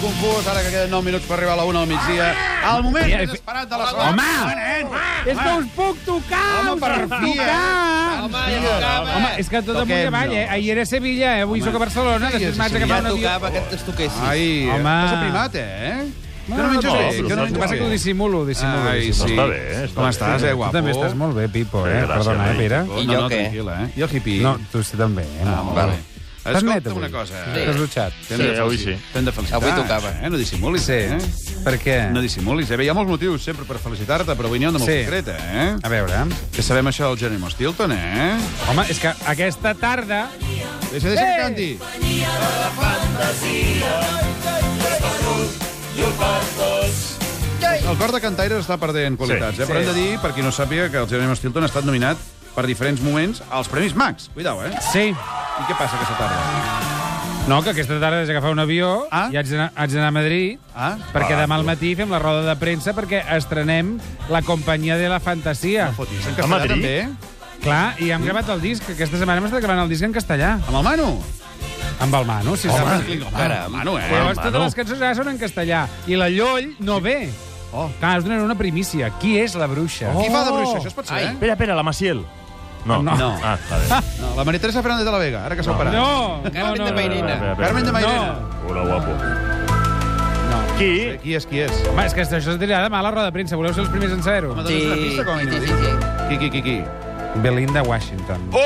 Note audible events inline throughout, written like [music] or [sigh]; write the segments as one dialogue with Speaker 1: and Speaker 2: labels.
Speaker 1: confús, ara que queden 9 minuts per arribar a la 1 al migdia. Al moment
Speaker 2: Home!
Speaker 1: més esperat de la setmana.
Speaker 2: Home!
Speaker 3: És que us puc tocar!
Speaker 1: Home,
Speaker 3: us
Speaker 1: per
Speaker 3: puc
Speaker 1: fi, eh?
Speaker 3: tocar!
Speaker 1: Tant,
Speaker 4: Home,
Speaker 1: sí,
Speaker 4: ja
Speaker 1: eh?
Speaker 4: tocava.
Speaker 2: Home, és que tot amunt i
Speaker 1: Toquem-nos.
Speaker 2: avall, eh? Ahir era Sevilla, eh? avui sóc a Barcelona,
Speaker 1: Sí,
Speaker 2: després
Speaker 1: sí,
Speaker 2: m'haig
Speaker 1: sí,
Speaker 4: Ja
Speaker 2: d'agafar un avió.
Speaker 4: tocava que es toquessin.
Speaker 1: Ai,
Speaker 2: Home.
Speaker 1: t'has aprimat, eh? Que no menges
Speaker 5: no,
Speaker 1: bé,
Speaker 5: però
Speaker 1: que no
Speaker 2: El que
Speaker 1: menges
Speaker 2: passa
Speaker 1: bé.
Speaker 2: és que ho dissimulo, ho dissimulo.
Speaker 1: Ai,
Speaker 2: Ai,
Speaker 1: sí.
Speaker 5: Està bé, eh? Està
Speaker 1: Com
Speaker 5: bé.
Speaker 1: estàs, eh,
Speaker 2: tu
Speaker 1: guapo?
Speaker 2: també estàs molt bé, Pipo, eh?
Speaker 5: Eh, gràcies,
Speaker 2: Perdona, eh,
Speaker 5: noi.
Speaker 2: Pere?
Speaker 1: No,
Speaker 4: I
Speaker 1: no,
Speaker 4: jo què?
Speaker 1: tranquil, eh? I el hippie?
Speaker 2: No, tu sí, també. Eh?
Speaker 1: Ah, molt
Speaker 4: Vale.
Speaker 1: bé.
Speaker 2: Estàs net,
Speaker 1: Escolta'm
Speaker 2: avui?
Speaker 1: una cosa. eh?
Speaker 4: Sí.
Speaker 2: T'has dutxat.
Speaker 1: T'hem de
Speaker 5: Sí, avui
Speaker 1: felicitar,
Speaker 5: sí.
Speaker 1: T'hem de felicitar.
Speaker 4: Avui tocava.
Speaker 1: Eh? No dissimulis,
Speaker 2: Sí.
Speaker 1: eh?
Speaker 2: Per què?
Speaker 1: No dissimulis, eh? Bé, Hi ha molts motius sempre per felicitar-te, però avui n'hi ha un de molt
Speaker 2: Sí.
Speaker 1: concreta, eh?
Speaker 2: A veure.
Speaker 1: Que sabem això del Geronimo Stilton, eh?
Speaker 2: Home, és que aquesta tarda...
Speaker 1: Deixa, deixa que canti. El cor de cantaires està perdent qualitats,
Speaker 5: Sí.
Speaker 1: eh? Però hem de dir, per qui no sàpiga, que el Geronimo Stilton ha estat nominat per diferents moments als Premis Max. Cuidao, eh?
Speaker 2: Sí.
Speaker 1: I què passa aquesta tarda?
Speaker 2: No, que aquesta tarda has d'agafar un avió
Speaker 1: Ah.
Speaker 2: i haig d'anar haig d'anar a Madrid
Speaker 1: Ah?
Speaker 2: perquè demà al matí fem la roda de premsa perquè estrenem la companyia de la fantasia.
Speaker 1: Fotis, en
Speaker 5: A
Speaker 1: castellà
Speaker 5: Madrid?
Speaker 1: també, eh?
Speaker 2: Clar, i hem gravat el disc. Aquesta setmana hem estat gravant el disc en castellà.
Speaker 1: Amb el Manu.
Speaker 2: Amb el Manu, si
Speaker 1: Home,
Speaker 2: saps.
Speaker 1: home, Manu, eh?
Speaker 2: Llavors
Speaker 5: Manu.
Speaker 2: totes les cançons ara són en castellà. I la Lloll no ve.
Speaker 1: Oh.
Speaker 2: Clar, us donaré una primícia. Qui és la bruixa?
Speaker 1: Qui fa de bruixa? Això es pot ser,
Speaker 4: Ai.
Speaker 1: eh?
Speaker 5: Espera, espera, la Maciel. No.
Speaker 2: No.
Speaker 1: No.
Speaker 5: Ah, està bé.
Speaker 1: No, la Maria Teresa Fernández de la Vega, ara que s'ha
Speaker 5: No.
Speaker 1: operat.
Speaker 2: No, no,
Speaker 4: Carmen
Speaker 2: no.
Speaker 4: de Mairena.
Speaker 5: Espera, espera,
Speaker 1: Carmen de
Speaker 5: espera.
Speaker 1: Mairena.
Speaker 5: Hola, guapo. Qui?
Speaker 1: Qui és, qui és?
Speaker 2: Home, és que això es dirà demà a la roda de premsa. Voleu ser els primers en saber-ho?
Speaker 1: Home,
Speaker 4: Sí,
Speaker 1: dones una pista, com a mínim.
Speaker 4: sí, sí, sí.
Speaker 1: Qui, qui, qui, qui?
Speaker 2: Belinda Washington.
Speaker 1: Oh!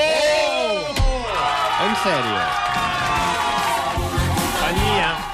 Speaker 4: En sèrio.
Speaker 5: Companyia.
Speaker 4: Però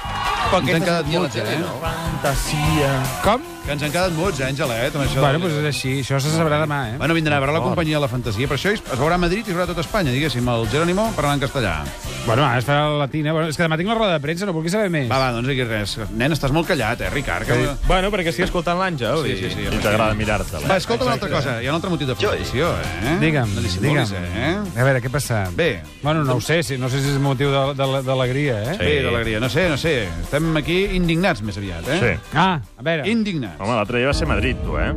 Speaker 1: Ens han
Speaker 4: aquesta
Speaker 1: quedat
Speaker 4: sortia a la
Speaker 1: molts,
Speaker 4: tele,
Speaker 1: eh?
Speaker 4: no?
Speaker 5: Fantasia.
Speaker 2: Com?
Speaker 1: Que ens han quedat mots, eh, Angelet, amb això.
Speaker 2: Bueno, doncs és així. Això se sabrà demà, eh?
Speaker 1: Bueno, vindrà a veure la companyia de la fantasia, però això es es veurà a Madrid i es veurà a tot Espanya, diguéssim, el Jerónimo parlant castellà.
Speaker 2: Bueno, ara es farà la latina. Bueno, és que demà tinc la roda de premsa, no vulguis saber més.
Speaker 1: Va, va, doncs aquí res. Nen, estàs molt callat, eh, Ricard? Que...
Speaker 6: Bueno, perquè estic escoltant l'Àngel.
Speaker 1: Sí, sí, sí.
Speaker 5: I t'agrada mirar-te-la.
Speaker 1: Va, escolta una altra cosa. Hi ha un altre motiu de felicitació, eh?
Speaker 2: Digue'm,
Speaker 1: no dissimulis,
Speaker 2: digue'm.
Speaker 1: eh?
Speaker 2: A veure, què passa?
Speaker 1: Bé.
Speaker 2: Bueno, no ho sé, si, no sé si és motiu de- de- d'alegria, eh?
Speaker 5: Sí.
Speaker 1: Bé, d'alegria. No sé, no sé. Estem aquí indignats més aviat, eh?
Speaker 5: Sí.
Speaker 2: Ah, a veure.
Speaker 1: Indignats.
Speaker 5: Home, l'altre dia va ser a Madrid, tu, eh?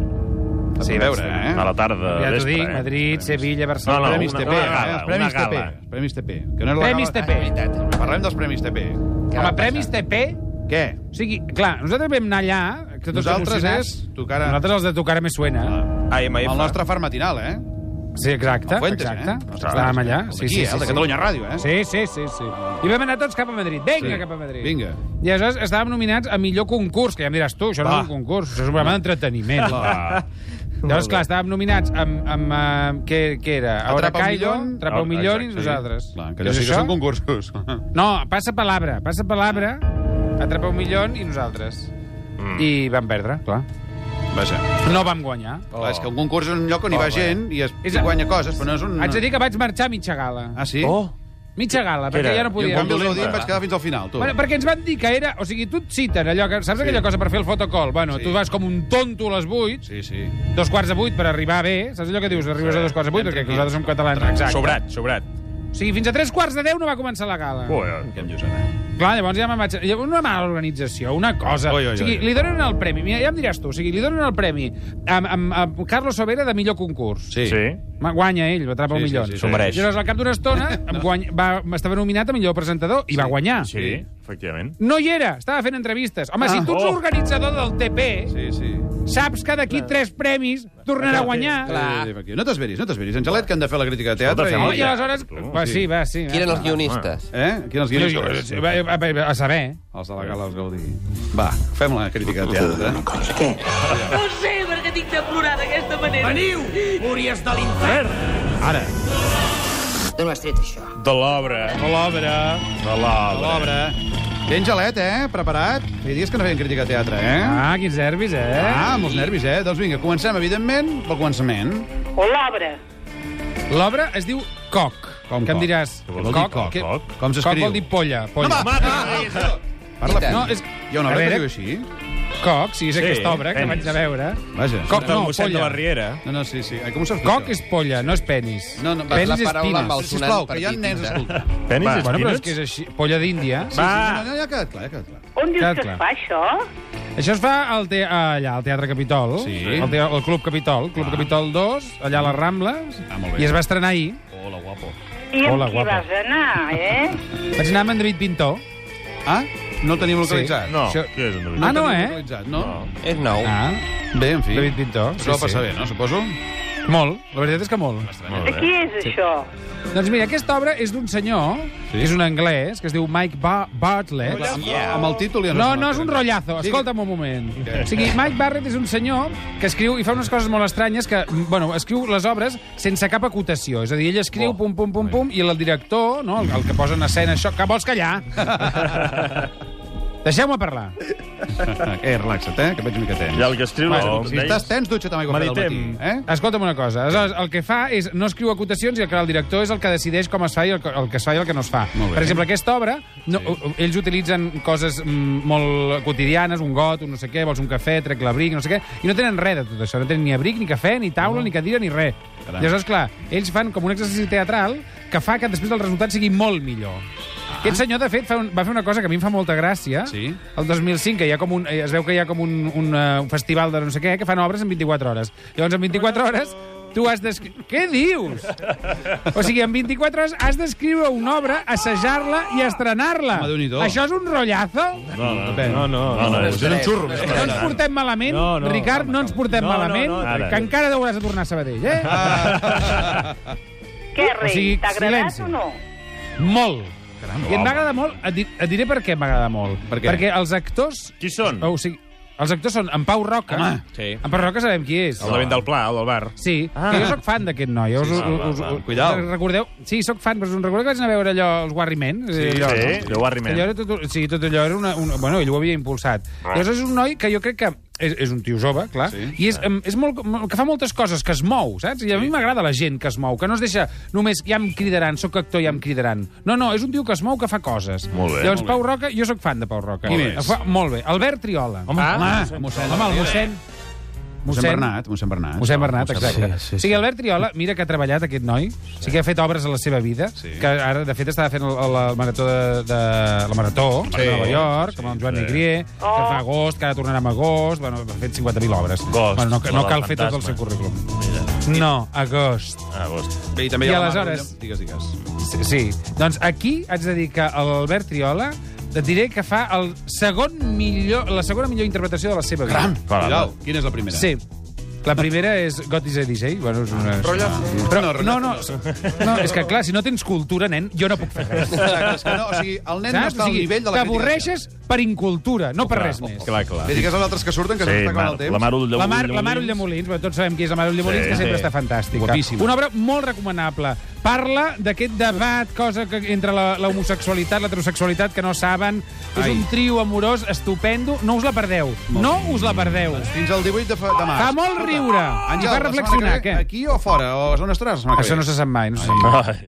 Speaker 1: sí, a veure, eh?
Speaker 5: A la tarda,
Speaker 2: ja t'ho
Speaker 5: vespre,
Speaker 2: dic,
Speaker 5: eh?
Speaker 2: Madrid, Sevilla,
Speaker 5: No,
Speaker 2: Barcelona...
Speaker 5: no,
Speaker 1: Premis
Speaker 5: una-
Speaker 1: TP,
Speaker 5: una
Speaker 1: eh?
Speaker 5: gala,
Speaker 1: Els Premis
Speaker 5: una
Speaker 1: TP.
Speaker 5: gala.
Speaker 1: els Premis TP. Que no Ah, és la gala-
Speaker 2: Premis
Speaker 1: eh?
Speaker 2: TP.
Speaker 4: És veritat, és veritat.
Speaker 1: Parlem dels Premis TP.
Speaker 2: Home, Premis TP...
Speaker 1: Què?
Speaker 2: O sigui, clar, nosaltres vam anar allà... Que tots
Speaker 1: Nosaltres eh?
Speaker 2: emocionats.
Speaker 1: és tocar a-
Speaker 2: Nosaltres els de tocar a me suena.
Speaker 1: Ah.
Speaker 6: Ai, mai
Speaker 1: El nostre far matinal, eh?
Speaker 2: Sí, exacte,
Speaker 1: El Fuentes,
Speaker 2: exacte.
Speaker 1: eh?
Speaker 2: Nosaltres Estàvem allà.
Speaker 1: El
Speaker 2: Sí,
Speaker 1: d'aquí,
Speaker 2: sí,
Speaker 1: eh?
Speaker 2: sí,
Speaker 1: El de
Speaker 2: sí.
Speaker 1: Catalunya Ràdio, eh?
Speaker 2: Sí, sí, sí, sí. I vam anar tots cap a Madrid. Vinga,
Speaker 1: Sí.
Speaker 2: cap a Madrid. [laughs]
Speaker 1: Vinga.
Speaker 2: I aleshores estàvem nominats a millor concurs, que ja em diràs tu, això no
Speaker 6: Va.
Speaker 2: és un concurs, això és un programa d'entreteniment. Llavors, clar, estàvem nominats amb... amb uh, què, què era? A
Speaker 1: Atrapa un
Speaker 2: Horacaido,
Speaker 1: millón.
Speaker 2: Atrapa un
Speaker 5: Ah,
Speaker 2: millón i
Speaker 5: exacte, sí.
Speaker 2: nosaltres.
Speaker 1: Clar, que
Speaker 2: I
Speaker 1: allò sí
Speaker 2: és
Speaker 1: que
Speaker 2: això?
Speaker 1: són concursos. [laughs]
Speaker 2: No, passa palabra, passa palabra, Atrapa un millón i nosaltres.
Speaker 5: Mm.
Speaker 2: I vam perdre, clar.
Speaker 1: Vaja.
Speaker 2: No vam guanyar.
Speaker 1: Oh. Clar, és que un concurs és un lloc on hi va gent i es
Speaker 2: És
Speaker 1: i
Speaker 2: a-
Speaker 1: guanya coses, però no és un...
Speaker 2: Haig de dir que vaig marxar a mitja gala.
Speaker 1: Ah, sí?
Speaker 6: Oh,
Speaker 2: Mitja gala, perquè
Speaker 5: Era-
Speaker 2: ja no
Speaker 1: I en
Speaker 2: podia...
Speaker 1: canvi els
Speaker 5: Dolenta.
Speaker 1: audits vaig quedar fins al final, tu.
Speaker 2: Bueno, perquè ens van dir que era... O sigui, tu et citen allò que... Saps aquella cosa per fer el fotocall? Bueno,
Speaker 1: Sí.
Speaker 2: tu vas com un tonto a les 8,
Speaker 1: Sí, sí.
Speaker 2: dos quarts de 8 per arribar bé. Saps allò que dius? Arribes a dos quarts de 8 perquè nosaltres som catalans. Exacte.
Speaker 6: sobrat, sobrat.
Speaker 2: O sigui, fins a tres quarts de 10 no va començar la gala.
Speaker 5: Ui,
Speaker 1: Què em dius ara?
Speaker 2: Clar, llavors ja me'n vaig... Llavors una mala organització, una cosa...
Speaker 1: Oi, oi,
Speaker 2: o sigui,
Speaker 1: oi.
Speaker 2: li donen el premi, mira, ja em diràs tu, o sigui, li donen el premi a, a, a Carlos Sobera de millor concurs.
Speaker 1: Sí.
Speaker 5: sí.
Speaker 2: Guanya ell, atrapa
Speaker 1: Sí,
Speaker 2: un
Speaker 1: sí,
Speaker 2: milió.
Speaker 1: sí, sí.
Speaker 6: S'ho mereix.
Speaker 2: Llavors, al cap d'una
Speaker 1: [laughs]
Speaker 2: estona, em guany... va, estava nominat a millor presentador i va guanyar.
Speaker 5: Sí, efectivament.
Speaker 2: No hi era, estava fent entrevistes. Home,
Speaker 1: Ah.
Speaker 2: si tu ets
Speaker 5: Oh.
Speaker 2: l'organitzador del TP,
Speaker 1: Sí, sí.
Speaker 2: saps que d'aquí tres premis tornarà a guanyar.
Speaker 4: Clar.
Speaker 1: Eh, aquí. No t'esveris, no t'esveris. Angelet, que han de fer la crítica de teatre.
Speaker 5: Escolta,
Speaker 2: No,
Speaker 1: I...
Speaker 2: I aleshores...
Speaker 5: Tu.
Speaker 2: Va, sí, va, sí.
Speaker 4: Qui eren els
Speaker 2: va.
Speaker 4: guionistes?
Speaker 1: Eh? Quins els guionistes?
Speaker 2: Va, va, va, A saber.
Speaker 1: Els de la gala, els Gaudí. Va, fem la crítica de teatre.
Speaker 7: No sé per què tinc de plorar d'aquesta manera. Veniu!
Speaker 1: Ara.
Speaker 7: D'on ho has tret, això?
Speaker 5: De l'obra.
Speaker 1: A l'obra.
Speaker 5: De l'obra.
Speaker 1: l'obra. Bé, Angelet, eh? Preparat? Feia dies que no feien crítica de teatre, eh?
Speaker 2: Ah, quins nervis, eh?
Speaker 1: Ah, amb els nervis, eh? Doncs vinga, comencem, evidentment, pel començament.
Speaker 7: O l'obra.
Speaker 2: L'obra es diu Coc.
Speaker 1: Com
Speaker 2: que
Speaker 1: coc?
Speaker 2: em diràs...
Speaker 5: Què vol dir coc?
Speaker 2: Que-
Speaker 5: Coc?
Speaker 1: Com s'escriu?
Speaker 2: vol dir polla. polla.
Speaker 1: Parla
Speaker 4: I tant.
Speaker 1: fi.
Speaker 2: no, és...
Speaker 1: Hi ha una
Speaker 2: a
Speaker 1: obra que
Speaker 2: veure,
Speaker 1: diu així?
Speaker 2: Coc, sí, és
Speaker 5: Sí,
Speaker 2: aquesta obra que
Speaker 5: penis.
Speaker 2: vaig a veure.
Speaker 1: Vaja.
Speaker 2: Coc,
Speaker 6: Del
Speaker 2: no,
Speaker 6: mossèn de la
Speaker 2: polla.
Speaker 6: Riera.
Speaker 1: No, no, sí, sí. Ai, Com ho saps? tu,
Speaker 2: Coc
Speaker 1: això?
Speaker 2: és polla, no és penis.
Speaker 1: No, no, va,
Speaker 2: penis
Speaker 4: la
Speaker 2: és
Speaker 4: paraula
Speaker 2: pines.
Speaker 4: amb el sonant
Speaker 1: Sisplau, que hi ha
Speaker 4: partit,
Speaker 1: nens
Speaker 4: eh?
Speaker 1: escoltant.
Speaker 5: Penis
Speaker 2: Bueno, però és
Speaker 5: espinats?
Speaker 2: que és així. Polla d'Índia.
Speaker 5: Va.
Speaker 1: No, no, ja ha quedat clar, ja ha quedat clar.
Speaker 8: On dius
Speaker 2: Clar,
Speaker 8: que
Speaker 2: clar.
Speaker 8: es fa, això?
Speaker 2: Això es fa al te allà, al Teatre Capitol,
Speaker 1: Sí.
Speaker 2: al te al Club Capitol, Club Capitol 2, allà a les Rambles,
Speaker 1: Ah, molt bé.
Speaker 2: i es va estrenar ahir.
Speaker 1: Hola, guapo.
Speaker 8: I amb
Speaker 2: Hola,
Speaker 8: qui
Speaker 2: guapa.
Speaker 8: vas anar, eh?
Speaker 2: Vaig anar amb en David Pintor,
Speaker 1: Ah? No el tenim localitzat.
Speaker 5: No,
Speaker 2: Això-
Speaker 5: què és
Speaker 2: Ah, no,
Speaker 5: endevina?
Speaker 1: el tenim
Speaker 2: eh?
Speaker 1: localitzat, no?
Speaker 6: És nou.
Speaker 2: Ah,
Speaker 1: Bé, en fi.
Speaker 2: David Pintor.
Speaker 1: Això va passar bé, no? Suposo.
Speaker 2: Molt, la veritat és que molt.
Speaker 5: Molt bé.
Speaker 7: Qui és això?
Speaker 2: Doncs mira, aquesta obra és d'un senyor, que és un anglès, que es diu Mike ba Bartlett.
Speaker 1: Amb el títol ja
Speaker 2: No,
Speaker 1: se
Speaker 2: no, és un
Speaker 1: m'entén.
Speaker 2: rotllazo.
Speaker 1: Digui.
Speaker 2: Escolta'm un moment. O sigui, Mike Barrett és un senyor que escriu i fa unes coses molt estranyes que, bueno, escriu les obres sense cap acotació. És a dir, ell escriu pum, pum, pum, pum, i el director, no, el, el que posa en escena això, que vols callar? Deixeu-me parlar.
Speaker 1: [laughs] Eh, relaxa't, eh, que veig una mica tens.
Speaker 5: I el que escriu...
Speaker 1: Bueno,
Speaker 5: No,
Speaker 1: si estàs tens, dutxa't amb aigua freda al matí.
Speaker 5: Meditem.
Speaker 1: Eh?
Speaker 2: Escolta'm una cosa, aleshores, el que fa és no escriu acotacions i el que el director és el que decideix com es fa i el que, el que es fa i el que no es fa.
Speaker 1: Molt bé.
Speaker 2: Per exemple, aquesta obra, no, u- u- ells utilitzen coses mm, molt quotidianes, un got, un no sé què, vols un cafè, trec l'abric, no sé què, i no tenen res de tot això, no tenen ni abric, ni cafè, ni taula, ni cadira, ni res.
Speaker 1: Caram.
Speaker 2: Llavors, clar, ells fan com un exercici teatral que fa que després el resultat sigui molt millor.
Speaker 1: Ah.
Speaker 2: Aquest senyor, de fet, fa un, va fer una cosa que a mi em fa molta gràcia.
Speaker 1: Sí.
Speaker 2: El 2005, que hi ha com un, eh, es veu que hi ha com un, un, eh, un festival de no sé què, que fan obres en 24 hores. Llavors, en 24 hores, tu has d'escriure... Què dius? O sigui, en 24 hores has d'escriure una obra, assajar-la i estrenar-la.
Speaker 1: Home, Déu-n'hi-do.
Speaker 2: Això és un rotllazo?
Speaker 5: No, no,
Speaker 1: Depèn.
Speaker 5: no.
Speaker 6: no.
Speaker 5: No, no, és un xurro.
Speaker 2: No ens portem malament,
Speaker 6: No, no,
Speaker 2: Ricard, no ens portem
Speaker 6: No, no,
Speaker 2: malament,
Speaker 6: no,
Speaker 5: tranquil.
Speaker 2: que encara hauràs de tornar a Sabadell, eh?
Speaker 7: Què,
Speaker 2: O
Speaker 7: rei?
Speaker 2: sigui,
Speaker 7: T'ha agradat
Speaker 2: silenci.
Speaker 7: o no?
Speaker 2: Molt. I em
Speaker 5: home.
Speaker 2: va agradar molt, et, di et diré per què m'agrada molt.
Speaker 1: Per què?
Speaker 2: Perquè els actors...
Speaker 5: Qui són?
Speaker 2: O sigui, els actors són en Pau Roca.
Speaker 1: Home,
Speaker 6: sí.
Speaker 2: En Pau Roca sabem qui és.
Speaker 6: El de vent del pla, el del bar.
Speaker 2: Sí, ah. que jo sóc fan d'aquest noi. Us, us, us, us,
Speaker 1: Cuidao.
Speaker 2: Recordeu? Sí, sóc fan, però us en recordeu que vaig anar a veure allò, els Warry Men? Sí, allò,
Speaker 5: Sí,
Speaker 2: no?
Speaker 5: de Warry
Speaker 2: Allò
Speaker 5: Man.
Speaker 2: era tot, sí, tot allò era una, una... Bueno, ell ho havia impulsat. Ah. Llavors és un noi que jo crec que és, és un tio jove, clar, sí,
Speaker 1: Sí.
Speaker 2: i és, em, és molt, molt- que fa moltes coses, que es mou, saps? I a mi m'agrada la gent que es mou, que no es deixa només ja em cridaran, sóc actor, ja em cridaran. No, no, és un tio que es mou, que fa coses.
Speaker 5: Molt bé,
Speaker 2: Llavors,
Speaker 5: molt
Speaker 2: Pau Roca, jo sóc fan de Pau Roca.
Speaker 1: Qui
Speaker 2: Molt bé.
Speaker 1: més?
Speaker 2: Fa, molt bé. Albert Triola. Home,
Speaker 1: Ah, mossèn.
Speaker 2: home el mossèn...
Speaker 1: Mossèn Bernat, mossèn Bernat.
Speaker 2: Mossèn Bernat,
Speaker 1: Mossèn
Speaker 2: exacte. Sí, sí, sí. O sigui, Albert Triola, mira que ha treballat aquest noi, sí. que ha fet obres a la seva vida, sí. que ara, de fet, estava fent el, el, el marató de, de, la marató sí. de Nova York, sí, amb en Joan sí. Negrier, oh. que fa agost, que ara tornarà a agost, bueno, ha fet 50.000 obres.
Speaker 5: Agost,
Speaker 2: bueno, no,
Speaker 5: la
Speaker 2: no
Speaker 5: del
Speaker 2: cal fer tot el
Speaker 5: fantasma.
Speaker 2: seu currículum. No, agost.
Speaker 5: Agost.
Speaker 1: Bé, I també hi
Speaker 2: I
Speaker 1: ha la Mar
Speaker 2: aleshores-
Speaker 1: Rutlló. Digues, digues.
Speaker 2: Sí, sí. Doncs aquí haig de dir que l'Albert Triola et diré que fa el segon millor, la segona millor interpretació de la seva vida.
Speaker 1: Caram,
Speaker 5: Fala,
Speaker 1: cuidao. Quina és la primera?
Speaker 2: Sí. La primera és God is a DJ. Bueno, és una... Però,
Speaker 1: No,
Speaker 2: no, no, no, és que clar, si no tens cultura, nen, jo no puc fer res.
Speaker 1: Exacte, és que no, o sigui, el nen no
Speaker 2: Saps?
Speaker 1: està
Speaker 2: O
Speaker 1: al
Speaker 2: sigui,
Speaker 1: nivell de la crítica.
Speaker 2: t'avorreixes per incultura, no per res més.
Speaker 6: Clar, clar.
Speaker 1: Bé, digues als altres que surten, que
Speaker 5: Ah, Sí,
Speaker 1: s'està
Speaker 5: Mar,
Speaker 1: acabant el temps.
Speaker 5: la Mar Ull de
Speaker 2: La Mar, la Mar Ullamolins, bueno, tots sabem qui és la Mar Ullamolins,
Speaker 5: Sí,
Speaker 2: que sempre
Speaker 6: sí.
Speaker 2: està fantàstica.
Speaker 1: Guapíssima.
Speaker 2: Una obra molt recomanable. Parla d'aquest debat, cosa que entre la- l'homosexualitat, l'heterosexualitat, que no saben. És
Speaker 1: Ai.
Speaker 2: un trio amorós estupendo. No us la perdeu. No us la perdeu.
Speaker 1: Fins al 18 de, fa, de març.
Speaker 2: Fa molt riure.
Speaker 1: Àngel,
Speaker 2: I fa
Speaker 1: la setmana
Speaker 2: reflexionar,
Speaker 1: que ve,
Speaker 2: què?
Speaker 1: Aquí o fora? O a on estaràs? la setmana que
Speaker 2: Això
Speaker 1: ve?
Speaker 2: no se sap mai, no se sap mai.
Speaker 5: Ai.